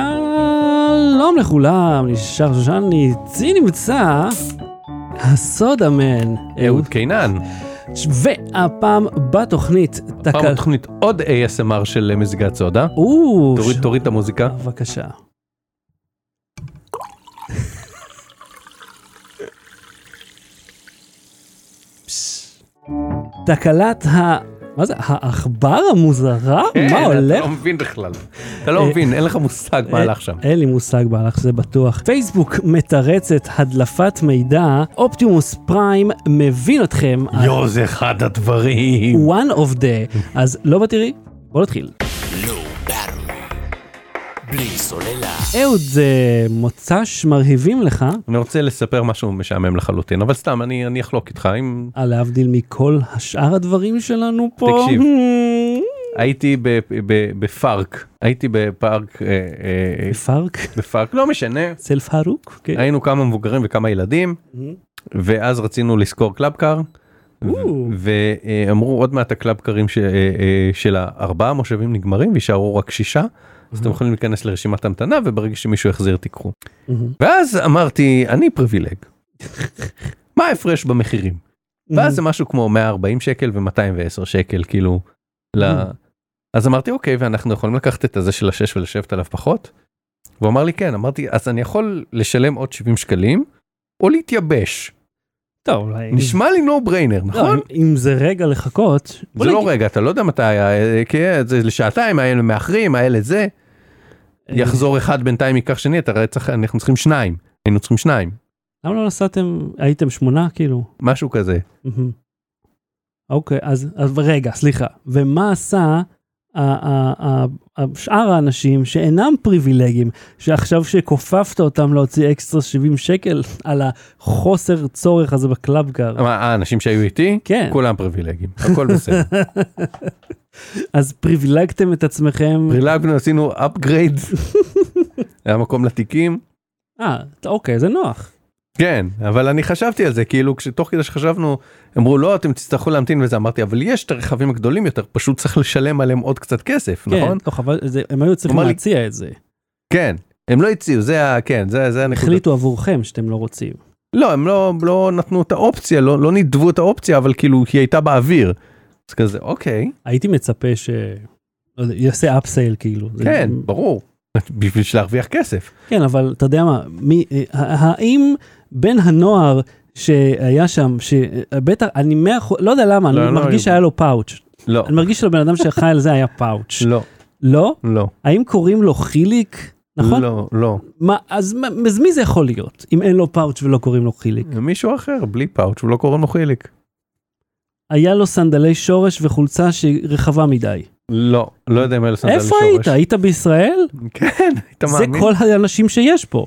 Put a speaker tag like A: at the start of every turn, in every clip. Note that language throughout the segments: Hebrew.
A: שלום לכולם, נשאר שושני, אצלי נמצא הסודהמן.
B: אהוד קינן.
A: והפעם בתוכנית
B: פעם
A: תקל...
B: בתוכנית עוד ASMR של אה, מזיגת סודה.
A: או,
B: תוריד
A: ש-
B: תוריד את המוזיקה.
A: בבקשה. פס. תקלת ה... מה זה? העכבר המוזרה? מה
B: אתה
A: הולך?
B: לא מבין בכלל. אתה לא
A: אה,
B: מבין, אין לך מושג מה הלך שם.
A: אין לי מושג בהלך, זה בטוח. פייסבוק מתרצת הדלפת מידע, אופטימוס פריים מבין אתכם.
B: יואו, זה אחד הדברים.
A: one of the, אז לא בתראי, בוא נתחיל.
C: לא בלי סוללה.
A: אהוד, זה מוצ"ש מרהיבים לך,
B: אני רוצה לספר משהו משעמם לחלוטין, אבל סתם, אני אני אחלוק איתך. אם
A: אה, להבדיל מכל השאר הדברים שלנו פה.
B: תקשיב. הייתי ב- ב- בפארק, הייתי בפארק, אה, אה,
A: פארק,
B: בפארק, לא משנה.
A: אצל פארוק, כן.
B: היינו כמה מבוגרים וכמה ילדים, ואז רצינו לשכור קלאב קאר.
A: או.
B: ואמרו עוד מעט הקלאב קרים ש- אה, אה, של הארבעה מושבים נגמרים ויישארו רק שישה אז אתם יכולים להיכנס לרשימת המתנה וברגע שמישהו יחזיר תיקחו.
A: מהמם.
B: ואז אמרתי אני פריבילג. מה ההפרש במחירים? ואז זה משהו כמו 140 שקל ו210 שקל כאילו. ל-
A: מהמם.
B: אז אמרתי אוקיי ואנחנו יכולים לקחת את הזה של השש ולשבת עליו פחות? הוא אמר לי כן אמרתי אז אני יכול לשלם עוד 70 שקלים או להתייבש
A: טוב, אולי...
B: נשמע לי נו בריינר
A: לא,
B: נכון?
A: אם- אם זה רגע לחכות, בוא
B: זה לא
A: נגיד-
B: רגע, אתה לא יודע מתי היה, אה, כי אה, זה לשעתיים, האלה מאחרים, האלה זה,
A: אה,
B: יחזור אחד בינתיים ייקח שני, אתה רואה, צריך- אנחנו צריכים שניים, היינו צריכים שניים,
A: למה לא נסעתם, הייתם שמונה כאילו?
B: משהו כזה.
A: מהמם. אוקיי, אז, אז רגע, סליחה. ומה עשה ה- ה- ה- ה- שאר האנשים שאינם פריבילגים, שעכשיו שכופפת אותם להוציא אקסטרה 70 שקל על החוסר צורך הזה בקלאב קאר?
B: מה, האנשים שהיו איתי,
A: כן.
B: כולם פריבילגים, הכל בסדר.
A: אז פריבילגתם את עצמכם.
B: פרילגנו, עשינו upgrade, היה מקום לתיקים,
A: אה, ת- אוקיי, זה נוח.
B: כן, אבל אני חשבתי על זה, כאילו, כשתוך כדי שחשבנו, אמרו לא, אתם תצטרכו להמתין וזה, אמרתי, אבל יש את הרכבים הגדולים יותר, פשוט צריך לשלם עליהם עוד קצת כסף, נכון?
A: כן, טוב, אבל זה- הם היו צריכים
B: אמר לי-
A: להציע את זה.
B: כן. הם לא הציעו, זה ה... כן, זה זה הנקודה.
A: החליטו עבורכם שאתם לא רוצים.
B: לא, הם לא, לא נתנו את האופציה, לא, לא נידבו את האופציה, אבל כאילו, היא הייתה באוויר. אז כזה, אוקיי,
A: הייתי מצפה ש... לא יודע, יעשה אפסייל כאילו. זה-
B: כן, ברור. בשביל להרוויח כסף.
A: כן, אבל אתה יודע מה, מי, אה, האם בן הנוער שהיה שם, שבטח, אני מאה אחוז, לא יודע למה,
B: לא,
A: אני
B: לא
A: מרגיש
B: היו.
A: שהיה לו פאוץ'.
B: לא,
A: אני מרגיש שלבן אדם שחי על זה היה פאוץ'.
B: לא,
A: לא?
B: לא,
A: האם קוראים לו חיליק? נכון?
B: לא, לא.
A: מה, אז, מה- אז מי זה יכול להיות, אם אין לו פאוץ' ולא קוראים לו חיליק?
B: מישהו אחר, בלי פאוץ', הוא לא קוראים לו חיליק.
A: היה לו סנדלי שורש וחולצה שהיא רחבה מדי.
B: לא, לא יודע אם היה לו סנדל
A: איפה
B: לשורש.
A: היית? היית בישראל?
B: כן, היית
A: זה
B: מאמין?
A: כל האנשים שיש פה.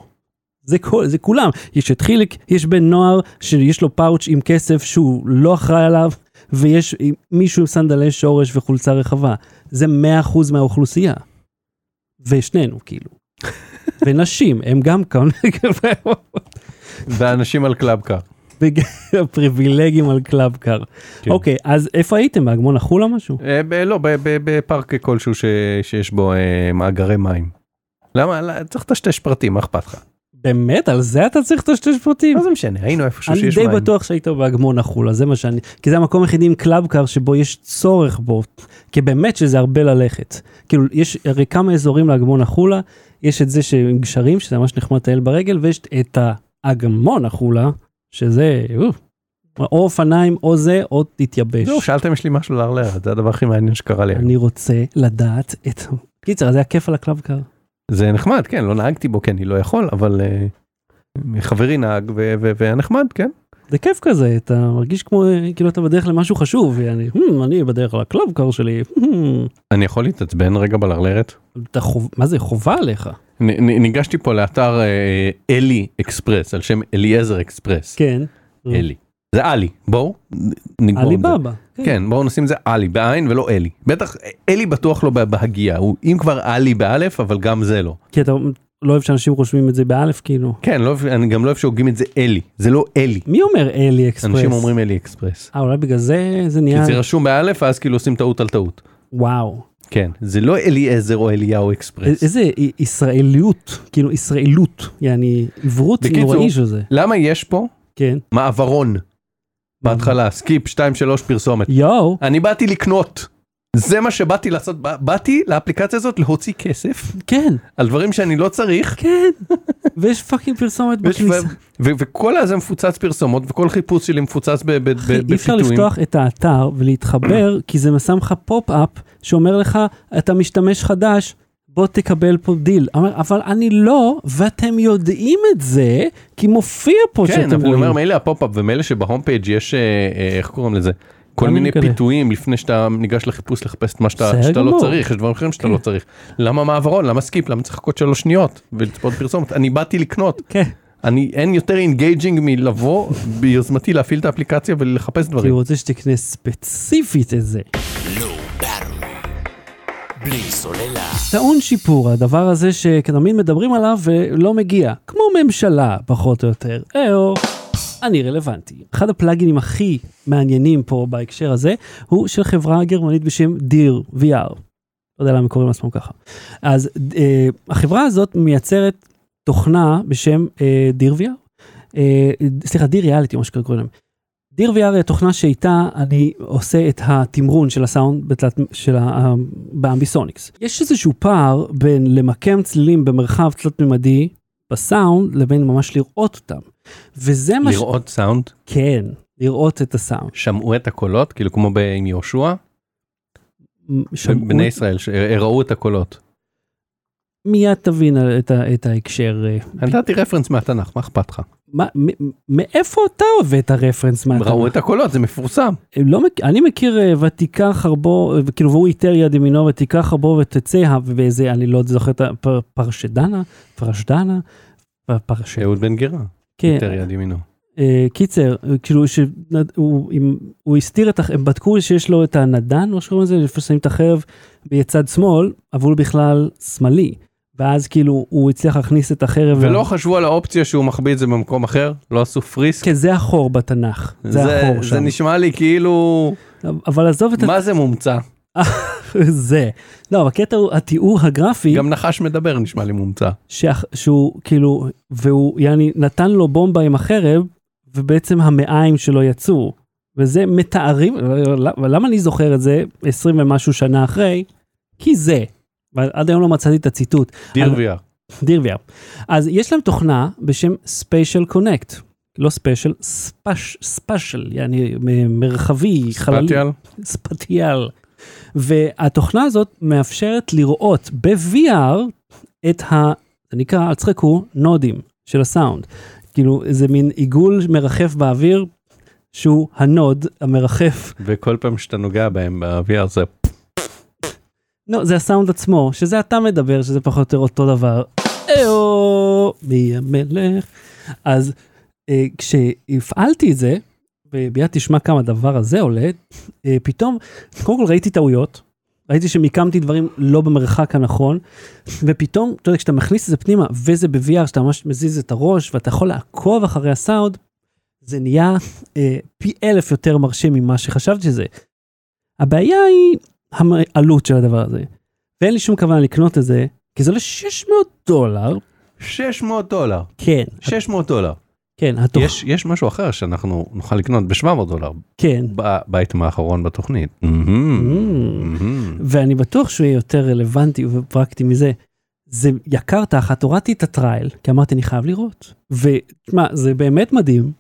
A: זה, כל, זה כולם. יש את חיליק, יש בן נוער שיש לו פאוץ' עם כסף שהוא לא אחראי עליו, ויש מישהו עם סנדלי שורש וחולצה רחבה. זה 100% מהאוכלוסייה. ושנינו, כאילו. ונשים, הם גם כאן,
B: ואנשים על קלאב קאר.
A: וגם פריבילגים על קלאב קאר.
B: כן.
A: אוקיי, אז איפה הייתם? באגמון החולה משהו?
B: אה, ב- לא, ב- ב- בפארק כלשהו ש- שיש בו אה, מאגרי מים. למה? לא, צריך לטשטש פרטים, מה אכפת לך?
A: באמת? על זה אתה צריך לטשטש פרטים?
B: מה זה משנה, היינו איפשהו
A: אני
B: שיש
A: די
B: מים.
A: בטוח שהיית באגמון החולה, זה מה שאני... כי זה המקום היחידי עם קלאב קאר שבו יש צורך בו, כי באמת שזה הרבה ללכת. כאילו, יש הרי כמה אזורים לאגמון החולה, יש את זה שעם גשרים, שזה ממש נחמד לטייל ברגל, ויש את האגמון החולה, שזה... אוף, או אופניים, או זה, או תתייבש.
B: זהו, שאלתם יש לי משהו לערער, זה הדבר הכי מעניין שקרה לי.
A: אני רוצה לדעת את... קיצר, זה היה כיף על הקלאב קאר.
B: זה נחמד, כן, לא נהגתי בו כי אני לא יכול, אבל אה, חברי נהג ו- ו- והיה נחמד, כן.
A: זה כיף כזה, אתה מרגיש כמו, אה, כאילו אתה בדרך למשהו חשוב, ואני, "Hmm, אני בדרך לקלאב קאר שלי, "Hmm."
B: אני יכול להתעצבן רגע בלרלרת?
A: אתה חוב... מה זה חובה עליך?
B: נ- נ- ניגשתי פה לאתר אה, אלי אקספרס, על שם אליעזר אקספרס.
A: כן.
B: אלי. זה עלי, בואו נגמור עם זה.
A: עליבאבא.
B: כן, בואו נשים את זה עלי בעין ולא אלי. בטח, אלי בטוח לא בה- בהגייה, הוא אם כבר עלי באלף, אבל גם זה לא.
A: כי אתה לא אוהב שאנשים רושמים את זה באלף, כאילו.
B: כן, לא אוהב- אני גם לא אוהב שהוגים את זה אלי, זה לא אלי.
A: מי אומר אלי אקספרס?
B: אנשים אומרים אלי אקספרס.
A: אה, אולי בגלל זה זה
B: כי
A: נהיה...
B: זה רשום באלף, ואז כאילו עושים טעות על טעות.
A: וואו.
B: כן, זה לא אליעזר או אליהו
A: א-
B: אקספרס.
A: איזה י- ישראליות, כאילו ישראלות, יעני עברות
B: בקיצור-
A: נוראי שזה.
B: למה יש פה
A: כן.
B: מעברון
A: אה.
B: בהתחלה, סקיפ 2-3 פרסומת.
A: יואו,
B: אני באתי לקנות. זה מה שבאתי לעשות, בא- באתי לאפליקציה הזאת להוציא כסף
A: כן,
B: על דברים שאני לא צריך.
A: כן. ויש פאקינג פרסומת
B: ויש- ו-
A: בכניסה.
B: ו- וכל הזה מפוצץ פרסומות וכל חיפוש שלי מפוצץ ב- ב- ב-
A: אחי, אי אפשר
B: בפיתויים.
A: לפתוח את האתר ולהתחבר, כי זה שם לך פופ-אפ שאומר לך, אתה משתמש חדש, בוא תקבל פה דיל. אומר, אבל אני לא, ואתם יודעים את זה, כי מופיע פה
B: כן,
A: שאתם
B: אבל אני
A: רואים.
B: אומר מילא הפופ-אפ ומילא שבהום פייג' יש, אה, אה, איך קוראים לזה? כל
A: גם
B: מיני
A: כאלה.
B: פיתויים לפני שאתה ניגש לחיפוש לחפש את מה שאתה
A: בסדר
B: שאתה לא
A: גמור. כן.
B: צריך, יש דברים אחרים שאתה לא צריך. למה מעברון? למה סקיפ? למה צריך לחכות שלוש שניות ולצפות פרסומת? אני באתי לקנות.
A: כן,
B: אני אין יותר אינגייג'ינג מלבוא ביוזמתי להפעיל את האפליקציה ולחפש
A: כי
B: דברים.
A: הוא רוצה שתקנה ספציפית את זה.
C: לא בלי סוללה.
A: טעון שיפור, הדבר הזה שתמיד מדברים עליו ולא מגיע. כמו ממשלה, פחות או יותר. אהו, אני רלוונטי. אחד הפלאגינים הכי מעניינים פה בהקשר הזה, הוא של חברה גרמנית בשם דיר VR. לא יודע למה הם קוראים לעצמם ככה. אז אה, החברה הזאת מייצרת תוכנה בשם אה, דיר VR. אה, סליחה, דיר ריאליטי, מה שקוראים להם. דיר VR היא התוכנה שאיתה אני עושה את התמרון של הסאונד בתלת, של ה, באמביסוניקס. יש איזשהו פער בין למקם צלילים במרחב תלת-ממדי בסאונד לבין ממש לראות אותם. וזה מה ש...
B: לראות סאונד,
A: כן, לראות את הסאונד.
B: שמעו את הקולות, כאילו כמו ב- עם יהושע,
A: שמעו-
B: בני ישראל, שראו את הקולות.
A: מיד תבין ה- את, ה- את ההקשר. אה,
B: נתתי רפרנס מהתנ"ך, מה אכפת לך?
A: מה, מ- מאיפה אתה הבאת רפרנס מהתנ"ך?
B: ראו את הקולות, זה מפורסם.
A: לא, מכ- אני מכיר אה, ותיקה חרבו, אה, כאילו והוא איתר יד ימינו ותיקה חרבו ותצא, ואיזה, אני לא זוכר את הפר- פרשדנה, פרשדנה, פ- פרש...
B: שאהוד בן גירה,
A: כן,
B: יותר יד ימינו.
A: אה, קיצר, אה, כאילו שהוא הוא הסתיר את, הח- הם בדקו שיש לו את הנדן, או שקוראים לזה, איפה ששמים את החרב בצד שמאל, אבל הוא בכלל שמאלי. ואז כאילו הוא הצליח להכניס את החרב.
B: ולא חשבו על האופציה שהוא מחביא את זה במקום אחר? לא עשו פריסק?
A: כן, זה החור בתנ"ך, כן, זה, החור
B: זה
A: שם.
B: נשמע לי כאילו,
A: אבל עזוב את
B: מה זה מומצא?
A: זה. לא, אבל הקטע הוא התיאור הגרפי,
B: גם נחש מדבר נשמע לי מומצא.
A: שאח- שהוא כאילו, והוא, יעני, נתן לו בומבה עם החרב, ובעצם המעיים שלו יצאו. וזה מתארים, למה אני זוכר את זה 20 ומשהו שנה אחרי? כי זה. אבל עד היום לא מצאתי את הציטוט.
B: דיר
A: אבל-
B: VR.
A: דירוויר. אז יש להם תוכנה בשם ספיישל קונקט. לא ספיישל, ספש, ספשל, יעני מ- מרחבי, חללי.
B: ספטיאל?
A: ספטיאל. והתוכנה הזאת מאפשרת לראות ב-VR את ה... זה נקרא, אל תצחקו, נודים של הסאונד. כאילו, זה מין עיגול מרחף באוויר, שהוא הנוד המרחף.
B: וכל פעם שאתה נוגע בהם ב-VR זה
A: לא, זה הסאונד עצמו, שזה אתה מדבר, שזה פחות או יותר אותו דבר. אהו, מי המלך? אז אה, כשהפעלתי את זה, וביד תשמע כמה הדבר הזה עולה, אה, פתאום, קודם כל ראיתי טעויות, ראיתי שמיקמתי דברים לא במרחק הנכון, ופתאום, אתה יודע, כשאתה מכניס את זה פנימה, וזה ב-VR, שאתה ממש מזיז את הראש, ואתה יכול לעקוב אחרי הסאונד, זה נהיה אה, פי אלף יותר מרשים ממה שחשבתי שזה. הבעיה היא המ- העלות של הדבר הזה, ואין לי שום כוונה לקנות את זה, כי זה עולה 600 דולר,
B: 600 דולר.
A: כן,
B: 600 דולר.
A: כן, התוכ...
B: יש- יש משהו אחר שאנחנו נוכל לקנות ב-700 דולר
A: כן.
B: באייטם האחרון בתוכנית.
A: Mm-hmm.
B: Mm-hmm. מהמם, מהמם.
A: ואני בטוח שהוא יהיה יותר רלוונטי ופרקטי מזה. זה יקר תחת, הורדתי את הטרייל, כי אמרתי, אני חייב לראות. ותשמע, זה באמת מדהים.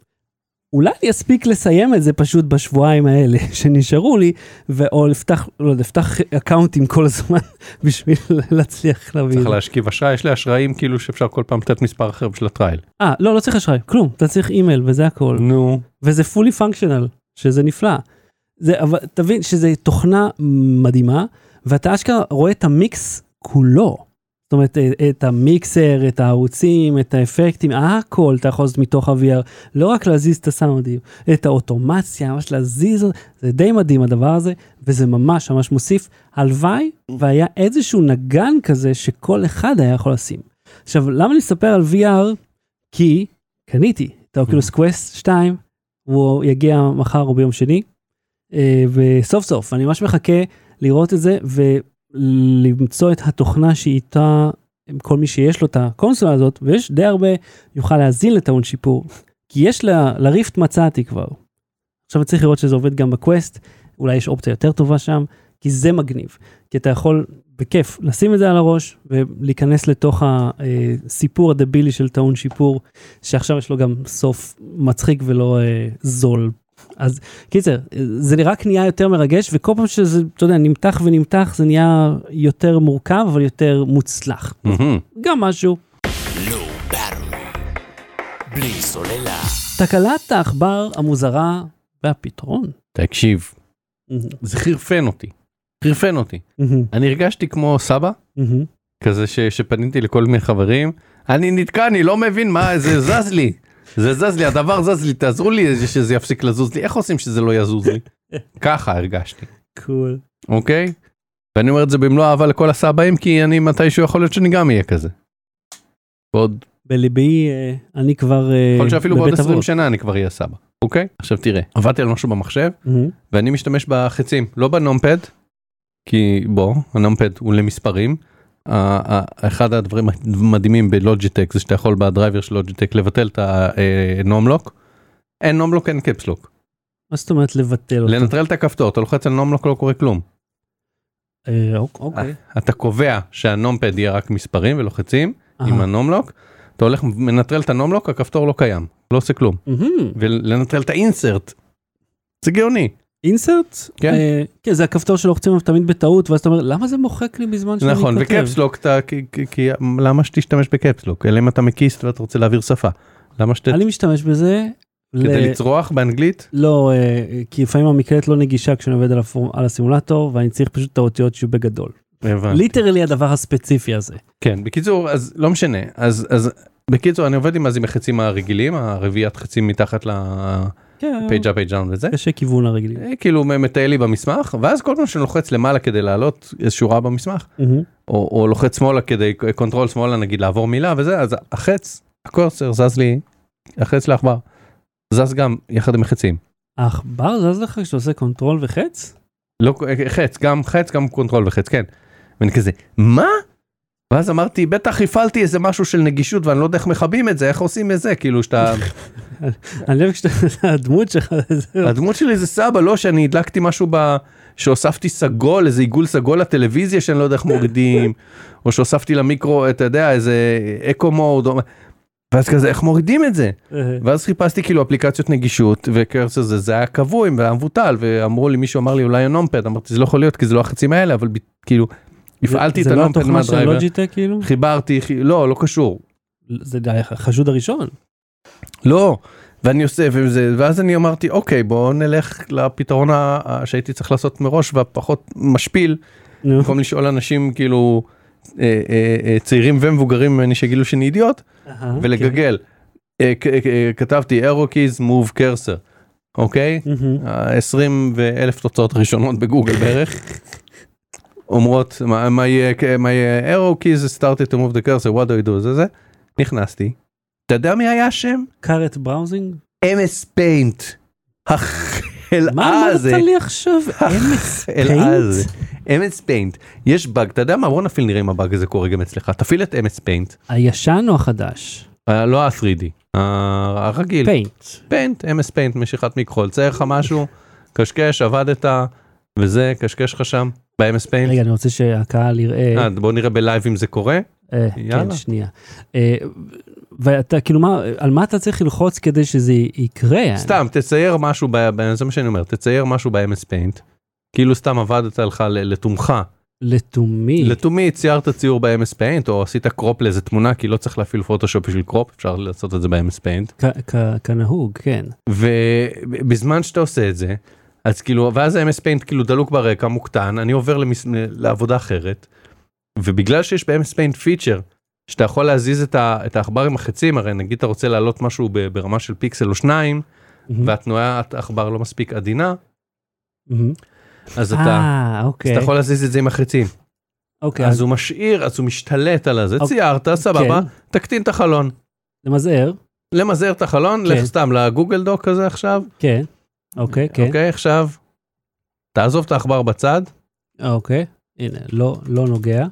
A: אולי אני אספיק לסיים את זה פשוט בשבועיים האלה שנשארו לי, ו- או לפתח, לא יודע, לפתח אקאונטים כל הזמן בשביל להצליח להביא. את
B: צריך
A: זה.
B: להשכיב אשראי, יש לי אשראים כאילו שאפשר כל פעם לתת מספר אחר בשביל הטרייל.
A: אה, לא, לא צריך אשראי, כלום, אתה צריך אימייל וזה הכל.
B: נו.
A: וזה fully functional, שזה נפלא. זה, אבל תבין שזה תוכנה מדהימה, ואתה אשכרה רואה את המיקס כולו. זאת אומרת, אה, את המיקסר, את הערוצים, את האפקטים, הכל אתה יכול לעשות מתוך ה-VR, לא רק להזיז את הסאונדים, את האוטומציה, ממש להזיז, זה די מדהים הדבר הזה, וזה ממש ממש מוסיף. הלוואי והיה איזשהו נגן כזה שכל אחד היה יכול לשים. עכשיו, למה אני מספר על VR? כי קניתי את האוקולוס קווסט 2, הוא יגיע מחר או ביום שני, אה, וסוף סוף, אני ממש מחכה לראות את זה, למצוא את התוכנה שאיתה כל מי שיש לו את הקונסולה הזאת, ויש די הרבה, יוכל להאזין לטעון שיפור. כי יש ל- לריפט מצאתי כבר. עכשיו צריך לראות שזה עובד גם בקווסט, אולי יש אופציה יותר טובה שם, כי זה מגניב. כי אתה יכול בכיף לשים את זה על הראש ולהיכנס לתוך הסיפור הדבילי של טעון שיפור, שעכשיו יש לו גם סוף מצחיק ולא אה, זול. אז קיצר, אה, זה רק נהיה יותר מרגש, וכל פעם שזה, אתה יודע, נמתח ונמתח, זה נהיה יותר מורכב, אבל יותר מוצלח.
B: מהמם.
A: גם משהו.
C: Low Battery. בלי סוללה.
A: תקלת העכבר המוזרה והפתרון.
B: תקשיב, זה חירפן אותי. חירפן אותי. אני הרגשתי כמו סבא, כזה ש, שפניתי לכל מיני חברים, אני נתקע, אני לא מבין מה, זה זז לי. זה זז לי, הדבר זז לי, תעזרו לי שזה יפסיק לזוז לי, איך עושים שזה לא יזוז לי? ככה הרגשתי,
A: קול.
B: אוקיי? ואני אומר את זה במלוא אהבה לכל הסבאים, כי אני מתישהו יכול להיות שאני גם אהיה כזה. עוד,
A: בליבי אה, אני כבר אה,
B: יכול להיות שאפילו בעוד
A: בבית
B: 20
A: אבות.
B: שנה אני כבר אהיה סבא, אוקיי? עכשיו תראה, עבדתי על משהו במחשב,
A: מהמם.
B: ואני משתמש בחצים, לא בנומפד, כי בוא, הנומפד הוא למספרים. ה- ה- אחד הדברים המדהימים בלוג'יטק זה שאתה יכול בדרייבר של לוג'יטק לבטל את הנומלוק. אין נומלוק אין קפסלוק.
A: מה זאת אומרת לבטל אותו?
B: לנטרל את הכפתור, אתה לוחץ על נומלוק לא קורה כלום.
A: אה, אוק- אוקיי.
B: אתה קובע שהנומפד יהיה רק מספרים ולוחצים אה, עם
A: אהה.
B: הנומלוק. אתה הולך מנטרל את הנומלוק הכפתור לא קיים לא עושה כלום
A: מהמם.
B: ולנטרל את האינסרט. זה גאוני.
A: אינסרט?
B: כן.
A: אה, כן, זה הכפתור שלוחצים עליו תמיד בטעות, ואז אתה אומר, למה זה מוחק לי בזמן שאני כותב?
B: נכון וקפסלוק אתה כי- כי- כי למה שתשתמש בקפסלוק אלא אם אתה מקיסט ואתה רוצה להעביר שפה. למה שת...
A: אני משתמש בזה. ל-
B: כדי לצרוח באנגלית
A: לא, אה, כי לפעמים המקלדת לא נגישה כשאני עובד על הפור- על הסימולטור, ואני צריך פשוט את האותיות שיהיו בגדול.
B: הבנתי.
A: ליטרלי הדבר הספציפי הזה.
B: כן בקיצור אז לא משנה אז אז בקיצור אני עובד עם אז עם החצים הרגילים הרביעיית חצים מתחת לפייג'ה
A: כן,
B: פייג' דאון וזה
A: קשה כיוון הרגילים.
B: אה, כאילו מטייל לי במסמך ואז כל פעם שאני לוחץ למעלה כדי לעלות איזו שורה במסמך
A: מהמם.
B: או, או לוחץ שמאלה כדי קונטרול שמאלה נגיד לעבור מילה וזה אז החץ הקורסר זז לי החץ לעכבר זז גם יחד עם החצים.
A: העכבר זז לך כשאתה עושה קונטרול וחץ?
B: לא חץ גם חץ גם קונטרול וחץ כן. ואני כזה מה? ואז אמרתי בטח הפעלתי איזה משהו של נגישות ואני לא יודע איך מכבים את זה איך עושים את זה כאילו שאתה
A: אני חושב כשאתה, הדמות שלך, זהו.
B: הדמות שלי זה סבא לא שאני הדלקתי משהו ב... שהוספתי סגול איזה עיגול סגול לטלוויזיה שאני לא יודע איך מורידים או שהוספתי למיקרו אתה יודע איזה אקו מוד או... ואז כזה איך מורידים את זה
A: אה,
B: ואז חיפשתי כאילו אפליקציות נגישות וקרס הזה זה היה כבוי והמבוטל ואמרו לי מישהו אמר לי אולי הנומפד אמרתי זה לא יכול להיות כי זה לא החצים האלה אבל ב- כאילו הפעלתי את
A: זה-
B: הנומפד
A: זה לא התוכנה של
B: מהדרייבר
A: לוג'יטק כאילו?
B: חיברתי חי- לא לא קשור
A: זה די החשוד הראשון.
B: לא ואני עושה וזה ואז אני אמרתי אוקיי בוא נלך לפתרון ה- ה- שהייתי צריך לעשות מראש והפחות משפיל
A: אוקיי. נו.
B: במקום לשאול אנשים כאילו אה, אה, אה, צעירים ומבוגרים ממני שיגידו שאני אידיוט
A: אהה, כן.
B: ולגגל אה, כ- אה, כתבתי arrow keys move cursor אוקיי
A: כן. מהמם.
B: 20 ואלף תוצאות ראשונות בגוגל בערך. אומרות מה מה יהיה כ- מה יהיה arrow keys started to move the cursor what do you do זה זה נכנסתי. אתה יודע מי היה השם?
A: קארט בראוזינג?
B: MS Paint.
A: מה
B: החלאה הזה.
A: אמרת לי עכשיו? אמס
B: החלאה הזה.
A: פיינט?
B: MS Paint. יש באג אתה יודע מה בוא נפעיל נראה אם הבאג הזה קורה גם אצלך תפעיל את MS Paint.
A: הישן או החדש?
B: אה, לא ה-3D. ה- הרגיל.
A: פיינט.
B: פיינט, MS פיינט, משיכת מכחול, צייר לך משהו, קשקש, עבדת, וזה, קשקש לך שם, ב-MS פיינט.
A: רגע, אני רוצה שהקהל יראה.
B: אה, בוא נראה בלייב אם זה קורה.
A: אה, כן,
B: יאללה.
A: שנייה. אה, ואתה, כאילו, מה, על מה אתה צריך ללחוץ כדי שזה יקרה?
B: סתם, תצייר משהו, ב- ב- זה מה שאני אומר, תצייר משהו ב-MS פיינט. כאילו סתם עבדת לך ל- לתומך.
A: לתומי.
B: לתומי ציירת ציור ב-MS פיינט, או עשית קרופ לאיזה תמונה, כי לא צריך להפעיל פוטושופ בשביל קרופ, אפשר לעשות את זה ב-MS פיינט.
A: כ- כ- כנהוג, כן.
B: ובזמן שאתה עושה את זה, אז כאילו, ואז ה-MS Paint כאילו דלוק ברקע, מוקטן, אני עובר למס... לעבודה אחרת, ובגלל שיש ב-MS Paint פיצ'ר, שאתה יכול להזיז את, ה... את העכבר עם החצים, הרי נגיד אתה רוצה להעלות משהו ב... ברמה של פיקסל או שניים,
A: מהמם.
B: והתנועת Mm-hmm. העכבר לא מספיק עדינה,
A: מהמם.
B: אז אתה...
A: אה,
B: אז
A: אוקיי.
B: אתה יכול להזיז את זה עם החצים,
A: אוקיי,
B: אז הוא משאיר, אז הוא משתלט על הזה,
A: אוקיי.
B: ציירת, סבבה,
A: כן.
B: תקטין את החלון,
A: למזער,
B: למזער את החלון,
A: כן.
B: לך סתם לגוגל דוק כזה עכשיו,
A: כן. אוקיי, כן.
B: אוקיי, עכשיו, תעזוב את העכבר בצד,
A: אוקיי. הנה, לא, לא נוגע.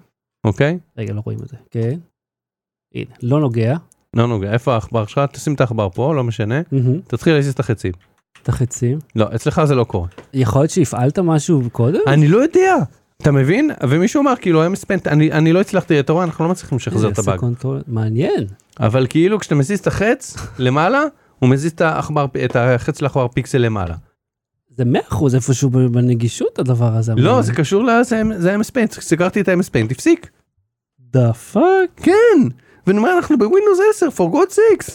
B: אוקיי?
A: רגע, לא רואים את זה. כן. הנה, לא נוגע.
B: לא נוגע, איפה העכבר שלך? תשים את העכבר פה, לא משנה.
A: מהמם.
B: תתחיל להזיז את החצים.
A: את החצים.
B: לא, אצלך זה לא קורה.
A: יכול להיות שהפעלת משהו קודם?
B: אני לא יודע. אתה מבין? ומישהו אמר כאילו הם ספנט, אני, אני לא הצלחתי, אתה רואה, אנחנו לא מצליחים לשחזר את הבאג.
A: הבאג. מעניין.
B: אבל כאילו כשאתה מזיז את החץ למעלה, הוא מזיז את, העכבר, את החץ לעכבר פיקסל למעלה.
A: זה 100% איפשהו ב- בנגישות הדבר הזה.
B: לא,
A: אבל-
B: זה קשור לזה, זה ה-MS Paint, סגרתי את ה-MS Paint, הפסיק.
A: דה פאק.
B: כן! ואני אומר, אנחנו בווינדוס 10, for God sakes.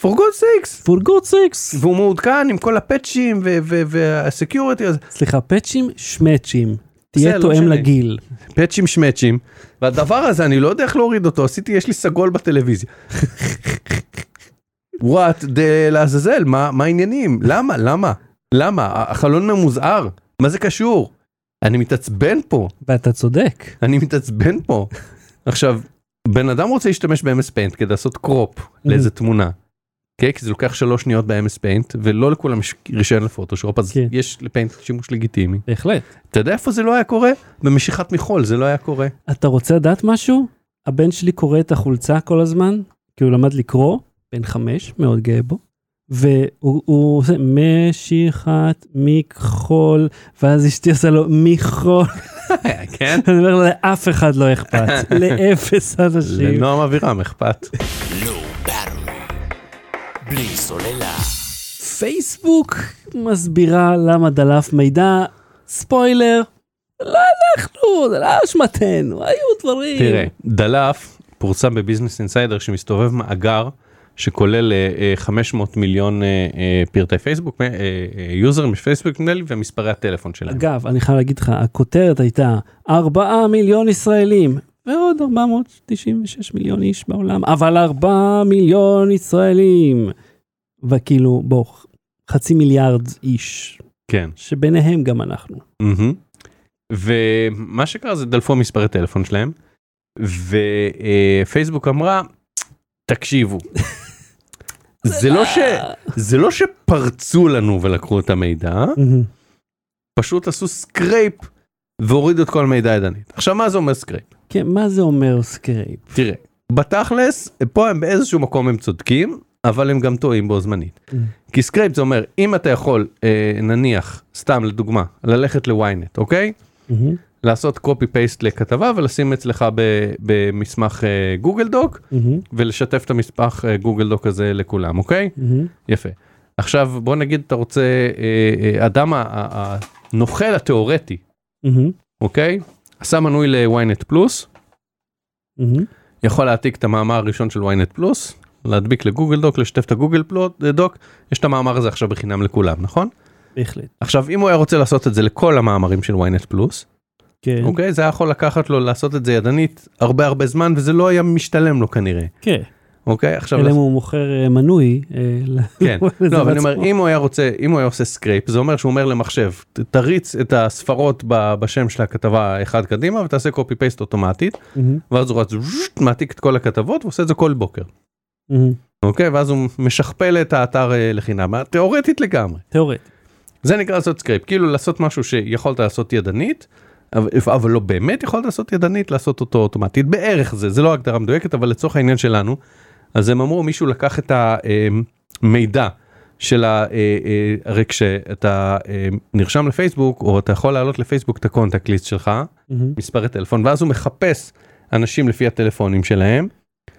B: for God sakes.
A: for God sakes.
B: והוא מעודכן עם כל הפאצ'ים והסקיוריטי הזה.
A: סליחה, פאצ'ים, שמאצ'ים. תהיה
B: לא
A: תואם
B: משנה.
A: לגיל.
B: פאצ'ים שמאצ'ים. והדבר הזה, אני לא יודע איך להוריד אותו, עשיתי, יש לי סגול בטלוויזיה. וואט דה לעזאזל, מה מה העניינים? למה? למה? למה? החלון ממוזער? מה זה קשור? אני מתעצבן פה.
A: ואתה צודק.
B: אני מתעצבן פה. עכשיו, בן אדם רוצה להשתמש ב-MS Paint כדי לעשות קרופ לאיזה תמונה. כן, כי זה לוקח שלוש שניות ב-MS Paint, ולא לכולם יש רישיון לפוטושופ, אז
A: כן.
B: יש לפיינט שימוש לגיטימי.
A: בהחלט.
B: אתה יודע איפה זה לא היה קורה? במשיכת מחול זה לא היה קורה.
A: אתה רוצה לדעת משהו? הבן שלי קורא את החולצה כל הזמן, כי הוא למד לקרוא, בן חמש, מאוד גאה בו. והוא הוא עושה משיכת מכחול, ואז אשתי עושה לו מכחול,
B: כן?
A: אני אומר לה, לאף אחד לא אכפת, לאפס אנשים.
B: לנועם אבירם אכפת.
C: Low Battery. בלי סוללה.
A: פייסבוק מסבירה למה דלף מידע, ספוילר, לא אנחנו, זה לא אשמתנו, היו דברים.
B: תראה, דלף פורסם בביזנס אינסיידר שמסתובב מאגר שכולל אה, אה, 500 מיליון אה, אה, פרטי פייסבוק, אה, אה, יוזרים בפייסבוק נדמה לי, ומספרי הטלפון שלהם.
A: אגב, אני חייב להגיד לך, הכותרת הייתה 4 מיליון ישראלים ועוד 496 מיליון איש בעולם, אבל 4 מיליון ישראלים. וכאילו, בוא, חצי מיליארד איש,
B: כן.
A: שביניהם גם אנחנו.
B: מהמם. ומה שקרה זה דלפו מספרי טלפון שלהם ופייסבוק אמרה תקשיבו זה לא ש זה לא שפרצו לנו ולקחו את המידע פשוט עשו סקרייפ והורידו את כל המידע ידנית עכשיו מה זה אומר סקרייפ
A: כן, מה זה אומר סקרייפ?
B: תראה בתכלס פה הם באיזשהו מקום הם צודקים אבל הם גם טועים בו זמנית
A: Mm.
B: כי סקרייפ זה אומר אם אתה יכול אה, נניח סתם לדוגמה ללכת לוויינט אוקיי.
A: מהמם,
B: לעשות copy paste לכתבה ולשים אצלך ב- במסמך אה, גוגל דוק
A: מהמם,
B: ולשתף את המסמך אה, גוגל דוק הזה לכולם אוקיי
A: מהמם.
B: יפה עכשיו בוא נגיד אתה רוצה אה, אה, אדם ה- ה- הנוכל התיאורטי
A: מהמם,
B: אוקיי עשה מנוי ל-ynet פלוס
A: מהמם.
B: יכול להעתיק את המאמר הראשון של ynet פלוס להדביק לגוגל דוק לשתף את הגוגל פלו- דוק יש את המאמר הזה עכשיו בחינם לכולם נכון
A: בהחלט.
B: עכשיו אם הוא היה רוצה לעשות את זה לכל המאמרים של ynet פלוס
A: כן,
B: אוקיי זה היה יכול לקחת לו לעשות את זה ידנית הרבה הרבה זמן וזה לא היה משתלם לו כנראה
A: כן.
B: אוקיי עכשיו
A: אלא אם הוא מוכר אה, מנוי. אה, ל-
B: כן
A: לזה
B: לא, אבל אני אומר
A: בעצמו.
B: אם הוא היה רוצה אם הוא היה עושה סקרייפ זה אומר שהוא אומר למחשב "ת- תריץ את הספרות ב- בשם של הכתבה אחד קדימה ותעשה קופי פייסט אוטומטית
A: מהמם,
B: ואז הוא רץ "ז'ט", מעתיק את כל הכתבות ועושה את זה כל בוקר
A: מהמם.
B: אוקיי ואז הוא משכפל את האתר אה, לחינם תיאורטית לגמרי
A: תיאורטית.
B: זה נקרא לעשות סקרייפ כאילו לעשות משהו שיכולת לעשות ידנית. אבל- אבל לא באמת יכולת לעשות ידנית לעשות אותו אוטומטית בערך זה זה לא הגדרה מדויקת אבל לצורך העניין שלנו אז הם אמרו מישהו לקח את המידע של ה... אה, אה, הרי כשאתה אה, נרשם לפייסבוק או אתה יכול להעלות לפייסבוק את הקונטקט ליסט שלך
A: מהמם.
B: מספרי טלפון ואז הוא מחפש אנשים לפי הטלפונים שלהם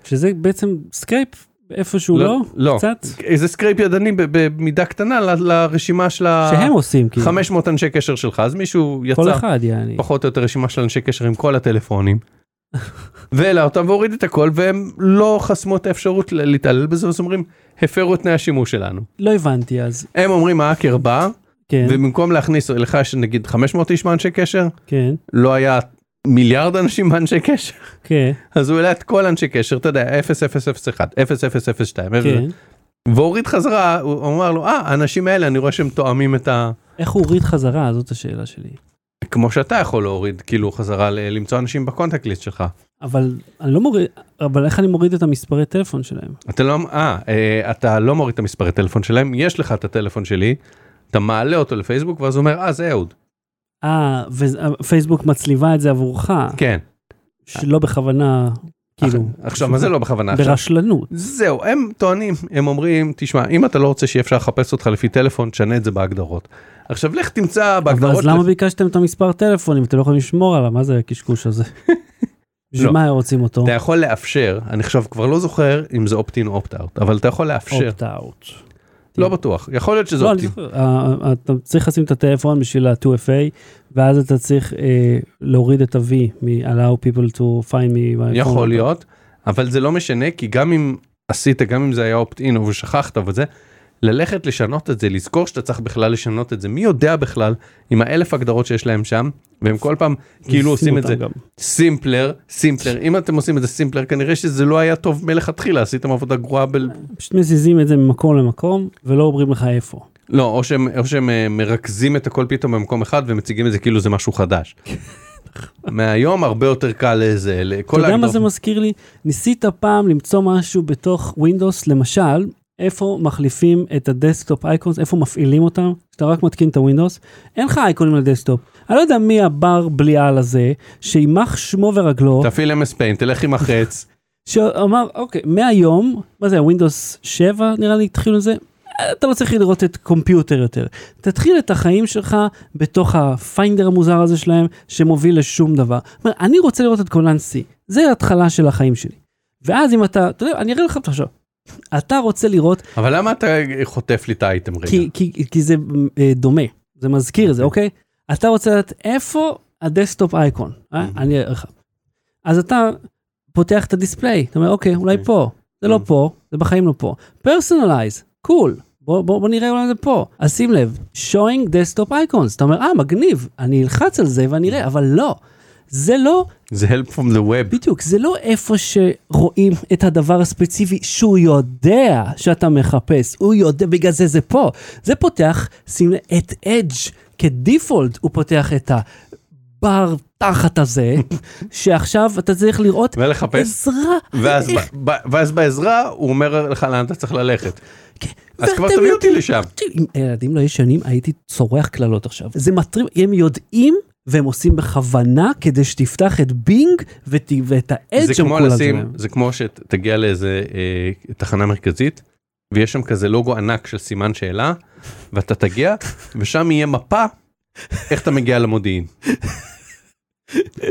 A: שזה בעצם סקייפ איפשהו
B: לא,
A: לא?
B: לא.
A: קצת?
B: איזה סקרייפ ידני ב- במידה קטנה ל- לרשימה של ה...
A: שהם עושים כאילו.
B: 500 אנשי קשר שלך אז מישהו אה, יצא
A: כל אחד יעני.
B: פחות או יותר רשימה של אנשי קשר עם כל הטלפונים. והעלה אותם והוריד את הכל והם לא חסמו את האפשרות ל- להתעלל בזה אז אומרים הפרו את תנאי השימוש שלנו.
A: לא הבנתי אז.
B: הם אומרים האקר בא
A: כן,
B: ובמקום להכניס לך יש נגיד 500 איש מאנשי קשר
A: כן,
B: לא היה מיליארד אנשים מאנשי קשר
A: כן,
B: אז הוא העלה את כל אנשי קשר אתה יודע 0001 0002
A: כן.
B: והוריד חזרה הוא אמר לו אה האנשים האלה אני רואה שהם תואמים את ה...
A: איך הוא הוריד חזרה? זאת השאלה שלי.
B: כמו שאתה יכול להוריד כאילו חזרה ל- למצוא אנשים בקונטקט ליסט שלך.
A: אבל אני לא מוריד, אבל איך אני מוריד את המספרי טלפון שלהם?
B: אתה לא, אה, אה, אתה לא מוריד את המספרי טלפון שלהם, יש לך את הטלפון שלי, אתה מעלה אותו לפייסבוק ואז הוא אומר, אה, זה אהוד.
A: אה, ופייסבוק מצליבה את זה עבורך,
B: כן.
A: שלא בכוונה, כאילו,
B: עכשיו, מה זה לא בכוונה? עכשיו,
A: ברשלנות.
B: זהו, הם טוענים, הם אומרים, תשמע, אם אתה לא רוצה שיהיה אפשר לחפש אותך לפי טלפון, תשנה את זה בהגדרות. עכשיו, לך תמצא
A: אבל
B: בהגדרות...
A: אז למה ביקשתם את המספר טלפון אם אתם לא יכולים לשמור עליו? מה זה הקשקוש הזה? בשביל
B: לא.
A: מה רוצים אותו?
B: אתה יכול לאפשר, אני עכשיו כבר לא זוכר אם זה אופטין או אופט-אאוט, אבל אתה יכול
A: אוקיי.
B: לאפשר,
A: אופט-אאוט.
B: לא בטוח, יכול להיות שזה
A: לא, אני
B: אופטין.
A: זוכר, אה, אתה צריך לשים את הטלפון בשביל ה-2FA, ואז אתה צריך אה, להוריד את ה-V מ-allow people to find me. by phone.
B: יכול להיות, אבל זה לא משנה, כי גם אם עשית, גם אם זה היה אופט-אין ושכחת וזה, ללכת לשנות את זה, לזכור שאתה צריך בכלל לשנות את זה, מי יודע בכלל עם האלף הגדרות שיש להם שם, והם כל פעם כאילו עושים את זה
A: אותם גם.
B: סימפלר, סימפלר, אם אתם עושים את זה סימפלר, כנראה שזה לא היה טוב מלכתחילה, עשיתם עבודה גרועה ב...
A: פשוט מזיזים את זה ממקום למקום, ולא אומרים לך איפה.
B: לא, או שהם, או שהם אה, מרכזים את הכל פתאום במקום אחד ומציגים את זה כאילו זה משהו חדש. מהיום הרבה יותר קל לזה,
A: אתה
B: לכל
A: יודע מה זה מזכיר לי? ניסית פעם למצוא משהו בתוך Windows, למשל, איפה מחליפים את הדסקטופ אייקונס, איפה מפעילים אותם, כשאתה רק מתקין את הווינדוס, אין לך אייקונים לדסקטופ. אני לא יודע מי הבר בלי על הזה, שיימח שמו ורגלו,
B: תפעיל אמס פיין, תלך עם החץ,
A: שאמר, אוקיי, מהיום, מה זה, ווינדוס 7 נראה לי התחילו את זה? אה, אתה לא צריך לראות את קומפיוטר יותר. תתחיל את החיים שלך בתוך הפיינדר המוזר הזה שלהם, שמוביל לשום דבר. אומר, אני רוצה לראות את קולן C, זה ההתחלה של החיים שלי. ואז אם אתה, אתה יודע, אני אראה לך עכשיו. אתה רוצה לראות,
B: אבל למה אתה חוטף לי את האייטם רגע?
A: כי, כי, כי זה אה, דומה, זה מזכיר זה, אוקיי? אתה רוצה לדעת איפה הדסקטופ אייקון, אה?
B: Mhm.
A: אני אראה לך. אז אתה פותח את הדיספליי, אתה אומר, אוקיי, אולי
B: אוקיי.
A: פה, זה לא
B: Mhm.
A: פה, זה בחיים לא פה. פרסונלייז, קול, בוא, בוא, בוא נראה אולי זה פה. אז שים לב, showing desktop icons, אתה אומר, אה, מגניב, אני אלחץ על זה ואני אראה, אבל לא. זה לא,
B: זה help from the web.
A: בדיוק, זה לא איפה שרואים את הדבר הספציפי שהוא יודע שאתה מחפש, הוא יודע, בגלל זה זה פה. זה פותח, שים לב, את Edge כדיפולט, הוא פותח את הבר תחת הזה, שעכשיו אתה צריך לראות
B: ולחפש,
A: עזרה.
B: ואז
A: איך-
B: ב- ב- ואז בעזרה הוא אומר לך לאן אתה צריך ללכת.
A: כן,
B: אז כבר
A: ואתם
B: תביא אותי
A: יודעים-
B: לשם.
A: אם הילדים לא ישנים, הייתי צורח קללות עכשיו. זה מטריף, הם יודעים. והם עושים בכוונה כדי שתפתח את בינג ות... ואת האדג'
B: זה כמו לשים, זה כמו שתגיע לאיזה אה, תחנה מרכזית, ויש שם כזה לוגו ענק של סימן שאלה, ואתה תגיע, ושם יהיה מפה איך אתה מגיע למודיעין.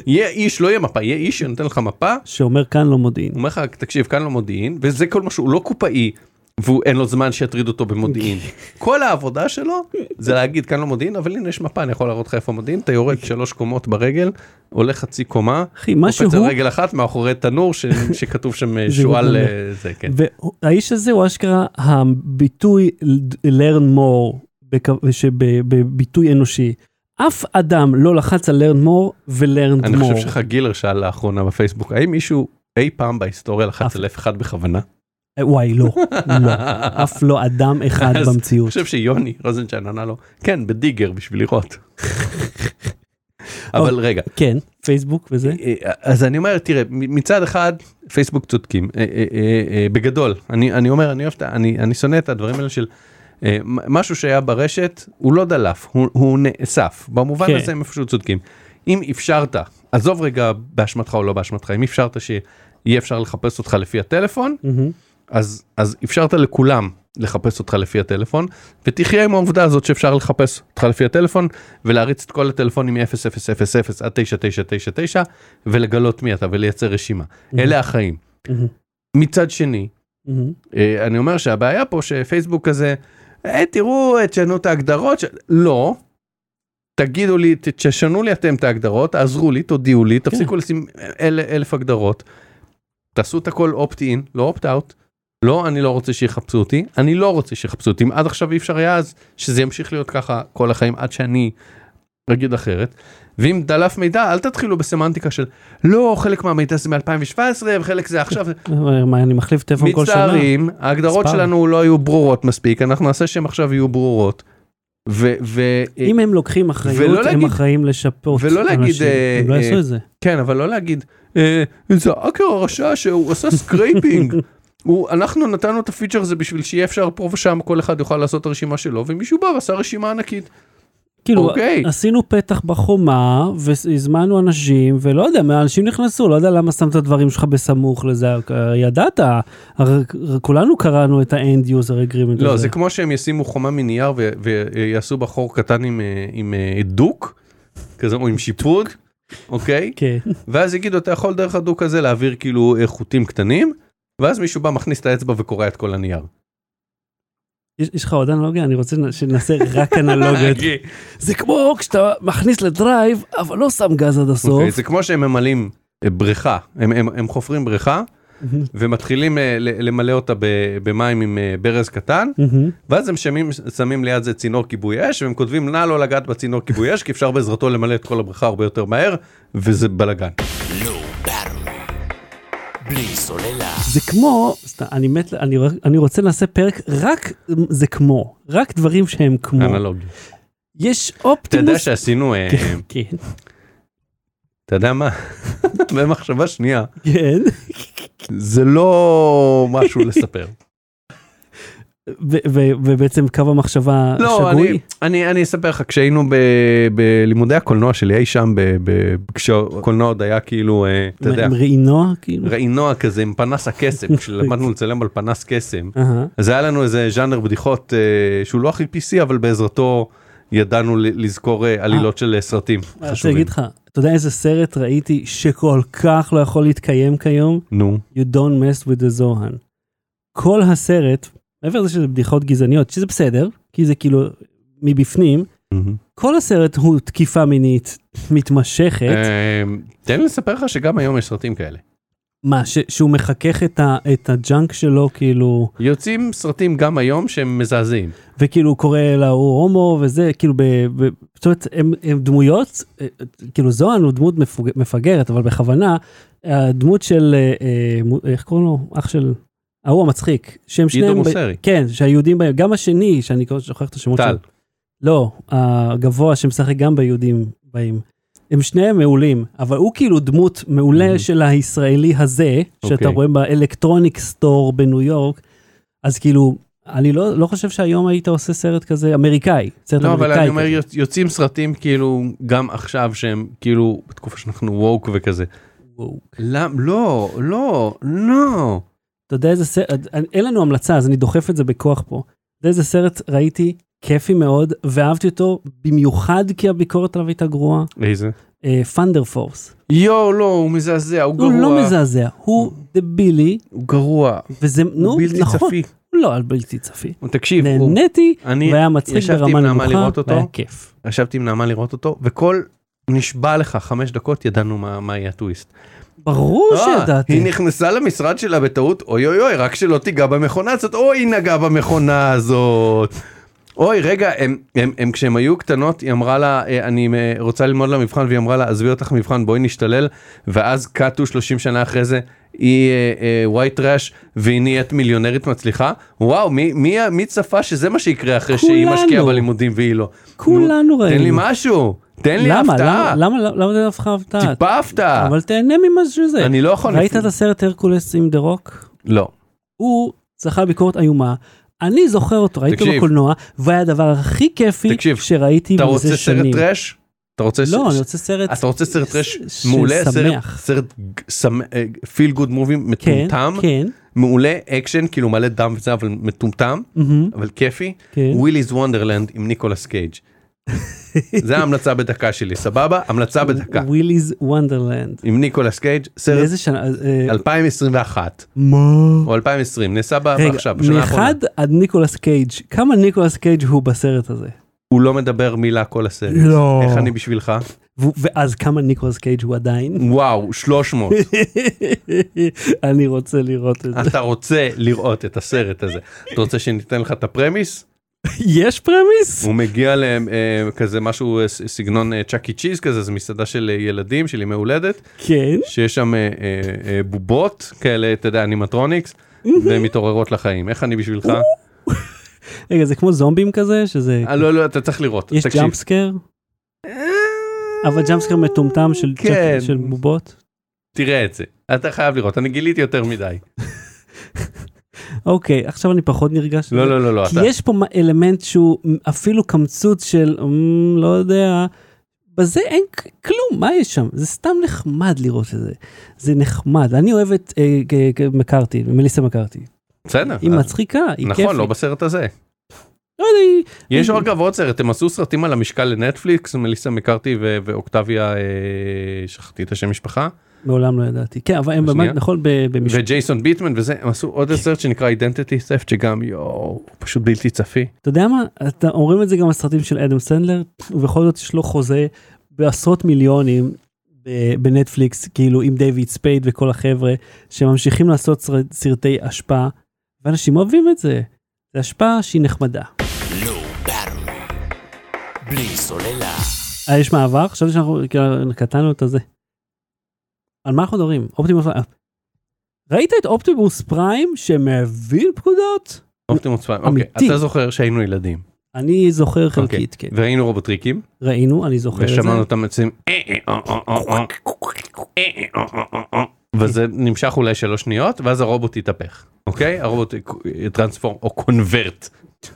B: יהיה איש, לא יהיה מפה, יהיה איש שנותן לך מפה,
A: שאומר כאן לא מודיעין.
B: הוא אומר לך, תקשיב, כאן לא מודיעין, וזה כל מה שהוא לא קופאי, ואין לו זמן שיטריד אותו במודיעין. כל העבודה שלו זה להגיד, כאן לא מודיעין, אבל הנה יש מפה, אני יכול להראות לך איפה מודיעין, אתה יורד שלוש קומות ברגל, עולה חצי קומה,
A: אחי, מה
B: קופץ על
A: שהוא,
B: רגל אחת מאחורי תנור ש... שכתוב שם אה,
A: זה
B: שועל
A: מגונה.
B: אה, זה כן.
A: והאיש הזה הוא אשכרה הביטוי learn more בכ- שב- בביטוי אנושי. אף אדם לא לחץ על learn more ו-learn
B: אני חושב
A: more.
B: שלך גילר שאל לאחרונה בפייסבוק האם מישהו אי פעם בהיסטוריה
A: אף-
B: לחץ על F1 בכוונה.
A: אה, וואי, לא, לא. אף לא אדם אחד
B: אז אני
A: במציאות.
B: חושב שיוני רוזנשטיין ענה לו כן בדיגר בשביל לראות. אבל רגע
A: כן, פייסבוק וזה.
B: אה, אז אני אומר תראה מ- מצד אחד פייסבוק צודקים אה, אה, אה, אה, בגדול אני אני אומר אני אוהב את ה- אני אני שונא את הדברים האלה של. אה, מ- משהו שהיה ברשת הוא לא דלף הוא, הוא נאסף במובן
A: כן.
B: הזה הם איפשהו צודקים אם אפשרת עזוב רגע באשמתך או לא באשמתך אם אפשרת שיהיה אפשר לחפש אותך לפי הטלפון
A: מהמם.
B: אז אז אפשרת לכולם לחפש אותך לפי הטלפון ותחיה עם העובדה הזאת שאפשר לחפש אותך לפי הטלפון ולהריץ את כל הטלפונים מ-0000 עד 9999 ולגלות מי אתה ולייצר רשימה אלה החיים.
A: מהמם.
B: מצד שני
A: מהמם.
B: אה, אני אומר שהבעיה פה שפייסבוק כזה "אה, תראו אה, תשנו את ההגדרות ש... לא. תגידו לי ת- תשנו לי אתם את ההגדרות תעזרו לי תודיעו לי תפסיקו לשים אל, אלף הגדרות. תעשו את הכל opt in לא opt out. לא אני לא רוצה שיחפשו אותי אני לא רוצה שיחפשו אותי אם עד עכשיו אי אפשר היה אז שזה ימשיך להיות ככה כל החיים עד שאני אגיד אחרת. ואם דלף מידע אל תתחילו בסמנטיקה של לא חלק מהמידע זה מ2017 וחלק זה עכשיו
A: אבל אה, מה, אני מחליף טלפון כל שנה?
B: מצטערים, ההגדרות
A: ספאם.
B: שלנו לא היו ברורות מספיק, אנחנו נעשה שהן עכשיו יהיו ברורות. ו... ו- אה,
A: אם הם לוקחים אחריות,
B: ולא
A: הם
B: להגיד-
A: אחראים לשפות
B: ולא להגיד,
A: אנשים.
B: אה,
A: הם לא
B: אה,
A: יעשו את זה.
B: כן, אבל לא להגיד, "אה, זה האקר הרשע שהוא עשה סקרייפינג. הוא, אנחנו נתנו את הפיצ'ר הזה בשביל שיהיה אפשר פה ושם כל אחד יוכל לעשות את הרשימה שלו ומישהו בא ועשה רשימה ענקית.
A: כאילו,
B: אוקיי.
A: עשינו פתח בחומה, והזמנו אנשים, ולא יודע, מה, אנשים נכנסו, לא יודע למה שמת את הדברים שלך בסמוך לזה, אה, ידעת, הרי כולנו קראנו את ה-end user agreement
B: לא,
A: הזה.
B: זה כמו שהם ישימו חומה מנייר ו- ויעשו בה חור קטן עם, אה, עם אה, דוק, כזה, או עם שיפוד, אוקיי?
A: כן,
B: ואז יגידו, אתה יכול דרך הדוק הזה להעביר כאילו אה, חוטים קטנים, ואז מישהו בא, מכניס את האצבע וקורע את כל הנייר.
A: יש- יש לך עוד אנלוגיה? אני רוצה שנעשה רק אנלוגיות.
B: אוקיי,
A: זה כמו כשאתה מכניס לדרייב, אבל לא שם גז עד הסוף.
B: זה כמו שהם ממלאים אה, בריכה, הם- הם הם חופרים בריכה,
A: אוקיי.
B: ומתחילים אה, ל- למלא אותה ב- במים עם אה, ברז קטן,
A: מהמם.
B: ואז הם שמים, שמים ליד זה צינור כיבוי אש, והם כותבים נא לא לגעת בצינור כיבוי אש, כי אפשר בעזרתו למלא את כל הבריכה הרבה יותר מהר, וזה בלאגן.
C: No battle. בלי סוללה.
A: זה כמו, סתם, אני מת, ל- אני רק- אני רוצה לעשות פרק רק זה כמו, רק דברים שהם כמו.
B: אנלוגי.
A: יש
B: אתה יודע
A: אופטימוס.
B: שעשינו, אה,
A: כן,
B: אתה יודע מה? במחשבה שנייה,
A: כן.
B: זה לא משהו לספר.
A: ו- ו- ובעצם קו המחשבה
B: לא, אני,
A: שגוי.
B: אני, אני אספר לך, כשהיינו ב, בלימודי הקולנוע שלי אי שם, ב, ב, כשהקולנוע עוד היה כאילו, אה, אתה יודע,
A: עם ראינו, כאילו.
B: ראינוע כזה עם פנס הקסם, כשלמדנו לצלם על פנס קסם.
A: אהה.
B: אז היה לנו איזה ז'אנר בדיחות אה, שהוא לא הכי PC, אבל בעזרתו ידענו ל- לזכור אה, עלילות של אה, סרטים
A: אני רוצה
B: חשובים.
A: להגיד לך, אתה יודע איזה סרט ראיתי שכל כך לא יכול להתקיים כיום?
B: נו,
A: You don't mess with the Zohan. כל הסרט, מעבר לזה שזה בדיחות גזעניות, שזה בסדר, כי זה כאילו מבפנים,
B: מהמם.
A: כל הסרט הוא תקיפה מינית מתמשכת,
B: אה, תן לי לספר לך שגם היום יש סרטים כאלה.
A: מה, ש- שהוא מחכך את ה- את הג'אנק שלו, כאילו,
B: יוצאים סרטים גם היום שהם מזעזעים.
A: וכאילו הוא קורא לה הוא הומו וזה, כאילו, ב- ב- זאת אומרת, הם- הם דמויות, אה, כאילו זוהן הוא דמות מפוג- מפגרת, אבל בכוונה, הדמות של, אה, אה, מו- איך קוראים לו? אח של... ההוא המצחיק, שהם שניהם...
B: עידו
A: ב-
B: מוסרי,
A: כן, שהיהודים בהם, גם השני, שאני כל הזמן שוכח את השמות
B: טל.
A: לא, הגבוה שמשחק גם ביהודים באים. הם שניהם מעולים, אבל הוא כאילו דמות מעולה
B: Mhm.
A: של הישראלי הזה, שאתה
B: אוקיי.
A: רואה באלקטרוניק סטור בניו יורק, אז כאילו, אני לא, לא חושב שהיום היית עושה סרט כזה אמריקאי, סרט
B: לא, אבל
A: אמריקאי.
B: אני אומר,
A: כזה.
B: יוצ- יוצאים סרטים כאילו גם עכשיו שהם כאילו בתקופה שאנחנו ווק וכזה.
A: וואו.
B: למ- לא, לא, לא.
A: אתה יודע איזה סרט, אני- אין לנו המלצה, אז אני דוחף את זה בכוח פה. אתה יודע איזה סרט ראיתי, כיפי מאוד, ואהבתי אותו, במיוחד כי הביקורת עליו הייתה גרועה,
B: איזה?
A: פאנדר פורס.
B: יואו, לא, הוא מזעזע, הוא גרוע.
A: הוא לא מזעזע, הוא דבילי,
B: הוא גרוע.
A: וזה, נו,
B: הוא בלתי
A: נכון,
B: צפי.
A: הוא לא על בלתי צפי.
B: תקשיב, הוא-
A: נהניתי,
B: אני
A: והיה מצחיק
B: ישבתי
A: ברמה
B: עם נעמה
A: נמוכה,
B: לראות אותו.
A: והיה כיף.
B: ישבתי עם נעמה לראות אותו, וכל, נשבע לך, חמש דקות ידענו מה מה יהיה הטוויסט.
A: ברור
B: אה,
A: שידעתי.
B: היא נכנסה למשרד שלה בטעות, אוי אוי אוי, רק שלא תיגע במכונה הזאת, אוי, היא נגעה במכונה הזאת. אוי, רגע, הם, הם, הם, כשהם היו קטנות, היא אמרה לה, "אה, אני אה, רוצה ללמוד למבחן, והיא אמרה לה, עזבי אותך מבחן, בואי נשתלל, ואז קאטו 30 שנה אחרי זה, היא אה, ווייט ראש, והיא נהיית מיליונרית מצליחה. וואו, מי, מי, מי צפה שזה מה שיקרה אחרי שהיא
A: כולנו.
B: משקיעה בלימודים והיא לא?
A: כולנו
B: תן לי
A: ראינו.
B: משהו, תן לי
A: למה?
B: הפתעה,
A: למה? למה? למה זה הפכה הפתעה?
B: טיפה הפתעה.
A: אבל תהנה ממה שזה.
B: אני לא יכול...
A: ראית את הסרט הרקולס עם דה רוק?
B: לא.
A: הוא זכה ביקורת איומה. אני זוכר אותו, ראיתי אותו
B: תקשיב.
A: בקולנוע, והיה הדבר הכי כיפי
B: תקשיב,
A: שראיתי
B: אתה
A: מזה
B: רוצה סרט
A: שנים.
B: טראש? אתה רוצה
A: לא, אני רוצה סרט
B: אתה רוצה סרט טראש
A: ש-
B: מעולה? סרט-
A: ששמח.
B: סרט אה, פיל גוד מובי
A: כן,
B: מטומטם?
A: כן,
B: מעולה, אקשן, כאילו מלא דם וזה, אבל מטומטם,
A: מהמם,
B: אבל כיפי.
A: כן.
B: ווילי's וונדרלנד עם ניקולס קייג'. זה ההמלצה בדקה שלי, סבבה? המלצה בדקה.
A: וויליז וונדרלנד.
B: עם ניקולס קייג', סרט
A: איזה שנה? אה,
B: 2021
A: מה?
B: או 2020, נעשה בה-
A: רגע,
B: עכשיו, בשנה האחרונה.
A: מאחד עד ניקולס קייג', כמה ניקולס קייג' הוא בסרט הזה?
B: הוא לא מדבר מילה כל הסרט.
A: לא.
B: איך אני בשבילך?
A: ו- ואז כמה ניקולס קייג' הוא עדיין?
B: וואו, 300.
A: אני רוצה לראות את זה.
B: אתה רוצה לראות את הסרט הזה. אתה רוצה שניתן לך את הפרמיס?
A: יש פרמיס?
B: הוא מגיע לכזה משהו, אה, ס- סגנון אה, צ'אק אי צ'יז כזה, זו מסעדה של אה, ילדים, של ימי הולדת,
A: כן.
B: שיש שם אה, אה, אה, בובות כאלה, אתה יודע, אנימטרוניקס, והן מתעוררות לחיים. איך אני בשבילך?
A: רגע, זה כמו זומבים כזה? שזה...
B: אה, לא, לא, אתה צריך לראות.
A: יש
B: תקשיב.
A: ג'אמפסקר? אבל ג'אמפסקר מטומטם של E-
B: כן.
A: של בובות?
B: תראה את זה. אתה חייב לראות, אני גיליתי יותר מדי.
A: אוקיי, עכשיו אני פחות נרגש.
B: לא, לא, לא, לא,
A: כי
B: אתה-
A: יש פה מה- אלמנט שהוא אפילו קמצוץ של, "אמ, לא יודע, בזה אין כ- כלום, מה יש שם? זה סתם נחמד לראות את זה. זה נחמד. אני אוהב את אה, כ- כ- מקארתי, מליסה מקארתי.
B: בסדר. אה,
A: היא מצחיקה, היא כיפית.
B: נכון, לא בסרט הזה.
A: לא יודע, היא...
B: יש
A: היא-
B: אגב עוד סרט, הם עשו סרטים על המשקל לנטפליקס, מליסה מקארתי ו- ואוקטביה, אה, שכחתי את השם משפחה,
A: מעולם לא ידעתי. כן, אבל הם
B: השנייה?
A: באמת, נכון, ב- במשפט.
B: וג'ייסון ביטמן וזה, הם עשו עוד סרט שנקרא אידנטיטי ספט, שגם יואו, הוא פשוט בלתי צפי.
A: אתה יודע מה, אתה, אומרים את זה גם הסרטים של אדם סנדלר, ובכל זאת יש לו חוזה בעשרות מיליונים ב- בנטפליקס, כאילו עם דיוויד ספייד וכל החבר'ה, שממשיכים לעשות סר- סרטי אשפה, ואנשים אוהבים את זה. זה אשפה שהיא נחמדה.
C: לא battle. בלי סוללה.
A: אה, יש מעבר? חשבתי שאנחנו כאילו, קטענו את הזה. על מה אנחנו מדברים? אופטימוס... אה. ראית את אופטימוס פריים שמבין פקודות?
B: אופטימוס פריים, אוקיי,
A: אמיתי.
B: אתה זוכר שהיינו ילדים,
A: אני זוכר חלקית, כן.
B: וראינו רובוטריקים,
A: ראינו, אני זוכר את זה.
B: ושמענו אותם יוצאים, "אה, אה, אה, אה, אה, אה, אה, אה, אה, אה, אה, אה." וזה נמשך אולי שלוש שניות, ואז הרובוט יתהפך, אוקיי? הרובוט טרנספורם או קונברט,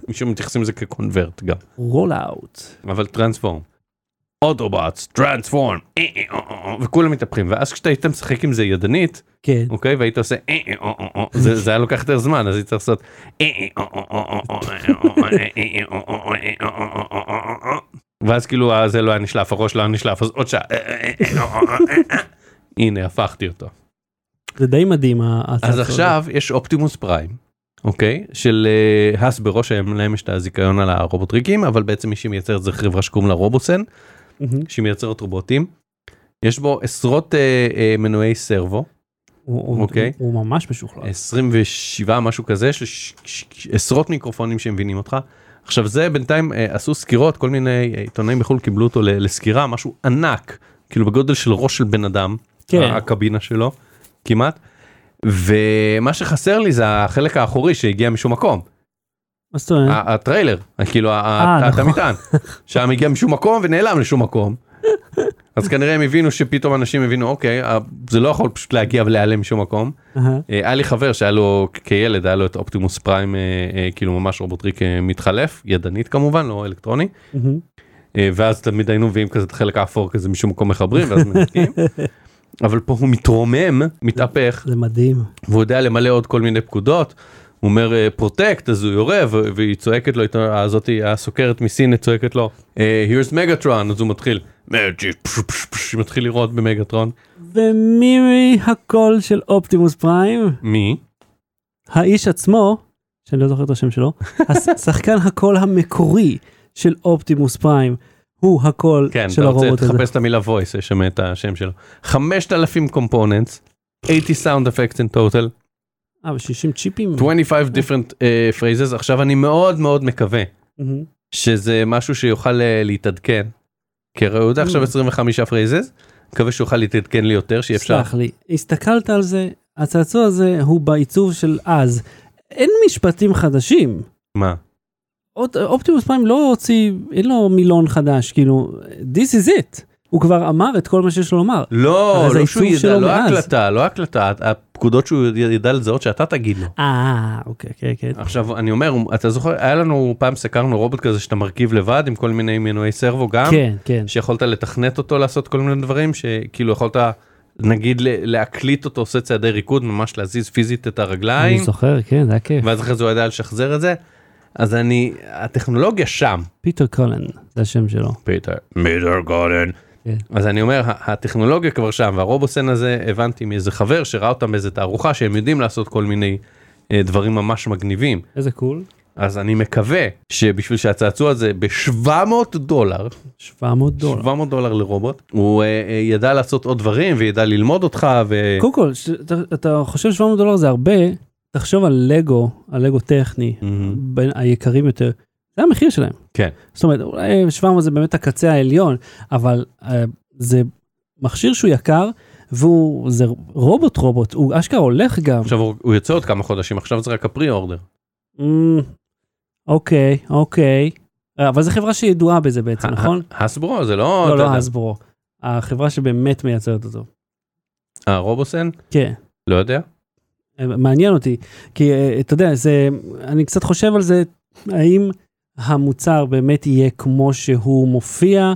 B: משום מתייחסים לזה כקונברט גם.
A: רול אאוט.
B: אבל טרנספורם. אוטובוטס, טרנספורם, וכולם מתהפכים, ואז כשאתה היית משחק עם זה ידנית,
A: כן.
B: אוקיי, והיית עושה, "אה, אה, אה, אה, אה", זה זה היה לוקח יותר זמן, אז היית צריך לעשות, "אה, אה, אה, אה, אה, אה, אה, אה, אה, אה, אה, אה, אה, אה, אה, אה, אה, אה, אה." ואז כאילו "אה, זה לא היה נשלף, הראש לא היה נשלף, אז עוד שעה, "אה, אה, אה, אה, אה, אה, אה, אה." הנה הפכתי אותו.
A: זה די מדהים ההצעה.
B: אז עכשיו יש אופטימוס פריים, אוקיי? של אה, האס בראש להם יש את הזיכיון על הרובוטריקים, אבל בעצם מי שמייצרת זה חברה שקוראים לה רובוסן, שהיא מייצרת רובוטים. יש בו עשרות אה, אה, מנועי סרבו, אוקיי. אה,
A: אוקיי. הוא ממש משוכלל.
B: 27 משהו כזה, של ש- ש- ש- עשרות מיקרופונים שמבינים אותך. עכשיו זה בינתיים אה, עשו סקירות, כל מיני אה, עיתונאים בחו"ל קיבלו אותו ל- לסקירה, משהו ענק, כאילו בגודל של ראש של בן אדם,
A: כן.
B: ה- הקבינה שלו, כמעט. ומה שחסר לי זה החלק האחורי שהגיע משום מקום,
A: מה זאת אומרת?
B: ה- הטריילר, כאילו ה-
A: אה,
B: ה-
A: נכון.
B: המטען, שם הגיע משום מקום ונעלם לשום מקום. אז כנראה הם הבינו שפתאום אנשים הבינו אוקיי אה, זה לא יכול פשוט להגיע ולהיעלם משום מקום.
A: אהה.
B: אה, היה לי חבר שהיה לו כ- כילד היה לו את אופטימוס פריים אה, אה, כאילו ממש רובוטריק אה, מתחלף ידנית כמובן לא אלקטרוני
A: מהמם.
B: אה, ואז תמיד היינו מביאים כזה את החלק האפור כזה משום מקום מחברים ואז מנתקים. אבל פה הוא מתרומם מתהפך
A: זה מדהים.
B: והוא יודע למלא עוד כל מיני פקודות. הוא אומר אה, פרוטקט אז הוא יורה ו- והיא צועקת לו איתו- הזאתי הסוקרת מסין צועקת לו אה, here's מגאטרון אז הוא מתחיל "Magic", פש, פש, פש, מתחיל לראות במגאטרון
A: ומירי הקול של אופטימוס פריים,
B: מי
A: האיש עצמו, שאני לא זוכר את השם שלו, השחקן הקול המקורי של אופטימוס פריים, הוא הקול
B: כן,
A: של
B: אתה רוצה,
A: הרובוט הזה.
B: תחפש את המילה voice, יש שם את השם שלו. 5,000 components, 80 sound effects in total,
A: אה, ו-60 צ'יפים.
B: 25 different uh, phrases. עכשיו אני מאוד מאוד מקווה
A: מהמם.
B: שזה משהו שיוכל uh, להתעדכן. כי הרי הוא יודע עכשיו
A: Mm.
B: 25 phrases, מקווה שיוכל להתעדכן לי יותר, שיהיה אפשר.
A: סלח לי, הסתכלת על זה, הצעצוע הזה הוא בעיצוב של אז. אין משפטים חדשים.
B: מה?
A: עוד- אופטימוס פריים לא הוציא, אין לו מילון חדש, כאילו, this is it. הוא כבר אמר את כל מה שיש לו לומר.
B: לא,
A: הרי זה
B: לא
A: העיצוב
B: שהוא ידע,
A: שלו
B: לא
A: מאז.
B: הקלטה, לא הקלטה, הפקודות שהוא ידע לזהות שאתה תגיד לו.
A: אה, אוקיי, כן, כן.
B: עכשיו אני אומר, אתה זוכר, היה לנו פעם סקרנו רובוט כזה שאתה מרכיב לבד עם כל מיני מנועי סרבו גם.
A: כן, כן.
B: שיכולת לתכנת אותו לעשות כל מיני דברים שכאילו יכולת נגיד ל- להקליט אותו עושה צעדי ריקוד ממש להזיז פיזית את הרגליים
A: אני זוכר, כן, זה היה כיף.
B: ואז אחרי זה הוא ידע לשחזר את זה. אז אני הטכנולוגיה שם
A: פיטר קולן, זה השם שלו.
B: פיטר מידר גודן.
A: כן.
B: אז אני אומר ה- הטכנולוגיה כבר שם והרובוסן הזה הבנתי מאיזה חבר שראה אותם באיזה תערוכה שהם יודעים לעשות כל מיני אה, דברים ממש מגניבים
A: איזה קול.
B: אז אני מקווה שבשביל שהצעצוע הזה ב-700 דולר
A: 700 דולר.
B: 700 דולר לרובוט הוא אה, אה, ידע לעשות עוד דברים וידע ללמוד אותך ו...
A: קודם כל, ש- אתה- אתה חושב 700 דולר זה הרבה, תחשוב על לגו, על לגו טכני,
B: מהמם.
A: בין היקרים יותר, זה המחיר שלהם.
B: Mm-hmm. כן.
A: זאת אומרת, אולי 700 זה באמת הקצה העליון, אבל אה, זה מכשיר שהוא יקר, והוא, זה רובוט רובוט, הוא אשכרה הולך גם.
B: עכשיו הוא הוא יוצא עוד כמה חודשים עכשיו זה רק הפרי אורדר
A: אמ, אוקיי, אוקיי. אה, אבל זו חברה שידועה בזה בעצם, נכון?
B: הסברו זה לא
A: לא,
B: אה, אתה
A: לא
B: יודע,
A: הסברו. החברה שבאמת מייצרת אותו.
B: הרובוסן
A: כן.
B: לא יודע
A: מעניין אותי, כי אה, אתה יודע, זה, אני קצת חושב על זה, האם המוצר באמת יהיה כמו שהוא מופיע,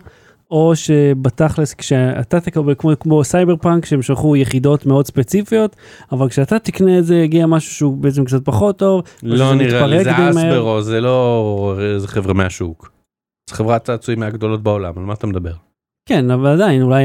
A: או שבתכלס כשאתה תקבל, כמו, כמו סייבר פאנק, שהם שלחו יחידות מאוד ספציפיות, אבל כשאתה תקנה את זה יגיע משהו שהוא בעצם קצת פחות טוב. משהו
B: לא נראה לי,
A: שמתפרק די
B: זה
A: מהר.
B: אסברו, זה לא איזה חבר'ה מהשוק. זה חברת צעצועים מהגדולות בעולם, על מה אתה מדבר?
A: כן, אבל עדיין, אולי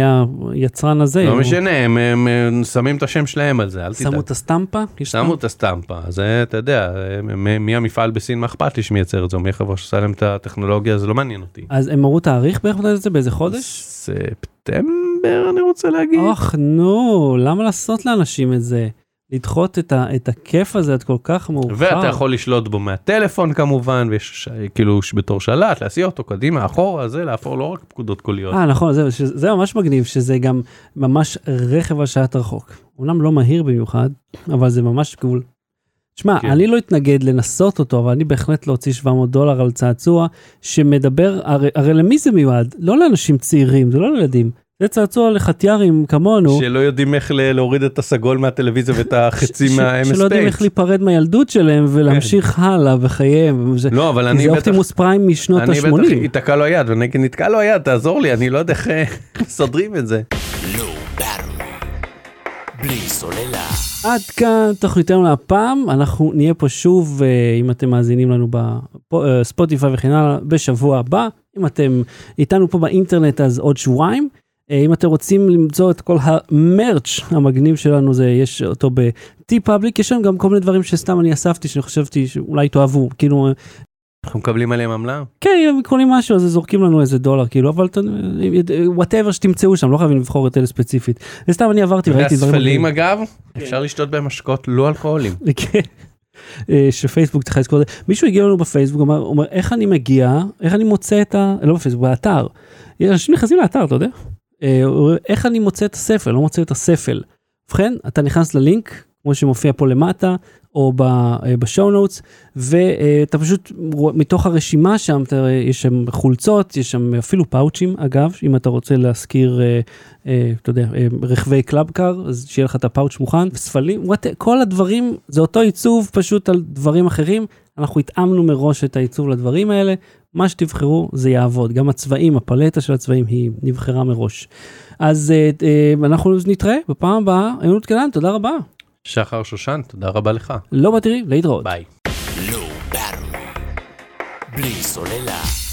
A: היצרן הזה,
B: לא
A: הוא-
B: משנה, הם- הם הם שמים את השם שלהם על זה, אל
A: שמו
B: תדאג.
A: את הסטמפה? יש
B: שמו את הסטמפה, זה אתה יודע, הם- הם- מי המפעל בסין, מה אכפת לי שמייצר את זה, או מי החברה שעושה להם את הטכנולוגיה, זה לא מעניין אותי.
A: אז הם אמרו תאריך בערך מתי זה באיזה חודש? אה,
B: ספטמבר אני רוצה להגיד.
A: אוח נו, למה לעשות לאנשים את זה? לדחות את, ה, את הכיף הזה עד כל כך מאוחר.
B: ואתה יכול לשלוט בו מהטלפון כמובן, ויש ש- כאילו ש- בתור שלט, להסיע אותו קדימה, אחורה, זה, להפור לא רק פקודות קוליות.
A: אה נכון, זה, ש- זה ממש מגניב, שזה גם ממש רכב על שעת רחוק. אומנם לא מהיר במיוחד, אבל זה ממש גבול. שמע,
B: כן.
A: כן. אני לא אתנגד לנסות אותו, אבל אני בהחלט לא אוציא 700 דולר על צעצוע שמדבר, הרי, הרי למי זה מיועד? לא לאנשים צעירים, זה לא לילדים. זה צעצוע לחטיארים כמונו.
B: שלא יודעים איך ל- להוריד את הסגול מהטלוויזיה ואת החצי
A: ש-
B: מה-MS
A: שלא יודעים איך
B: Paint. כן.
A: להיפרד מהילדות שלהם ולהמשיך הלאה בחייהם. זה-
B: לא, אבל
A: כי
B: אני
A: זה
B: בטח,
A: אופטימוס פריים משנות
B: אני בטח,
A: ה-80.
B: ייתקע לו היד, ואני אגיד, נתקע לו היד, תעזור לי, אני לא יודע איך איך מסדרים את זה.
C: לא ברור. בלי סוללה.
A: עד כאן תוכניתנו להפעם, אנחנו נהיה פה שוב, אה, אם אתם מאזינים לנו בספוטיפיי וכן הלאה, בשבוע הבא. אם אתם איתנו פה באינטרנט אז עוד שבועיים. אה, אם אתם רוצים למצוא את כל המרץ' המגניב שלנו, זה יש אותו ב-T-Public, יש לנו גם כל מיני דברים שסתם אני אספתי, שאני חשבתי שאולי תאהבו, כאילו, אה,
B: אנחנו מקבלים עליהם עמלה?
A: כן, הם קונים משהו, אז זורקים לנו איזה דולר, כאילו, אבל וואטאבר שתמצאו שם, לא חייבים לבחור את אלה ספציפית. וסתם אני עברתי, ראיתי דברים... מגניבים.
B: והספלים אגב, אפשר לשתות בהם משקאות לא אלכוהולים.
A: כן. אה, שפייסבוק צריכה לזכור את זה. מישהו הגיע לנו בפייסבוק, אמר, אומר, איך אני מגיע, איך אני מוצא את ה... לא בפייסבוק, באתר. אנשים נכנסים לאתר, אתה יודע? אה, הוא אומר, איך אני מוצא את הספל, לא מוצא את הספל. ובכן, אתה נכנס ללינק, כמו שמופיע פה למטה, או אה, בשואו נוטס, ואתה פשוט, רוא- מתוך הרשימה שם, אתה, רואה, יש שם חולצות, יש שם אפילו פאוצ'ים, אגב, אם אתה רוצה להשכיר, אה, אה, אתה יודע, אה, רכבי קלאב קאר, אז שיהיה לך את הפאוץ' מוכן, ספלים, what, כל הדברים, זה אותו עיצוב פשוט על דברים אחרים, אנחנו התאמנו מראש את העיצוב לדברים האלה, מה שתבחרו זה יעבוד, גם הצבעים, הפלטה של הצבעים היא נבחרה מראש. אז אה, אה, אנחנו נתראה בפעם הבאה, עיונות קלן, תודה רבה.
B: שחר שושן, תודה רבה לך.
A: לא בתראי, להתראות.
B: ביי.
C: לא ברור. בלי סוללה.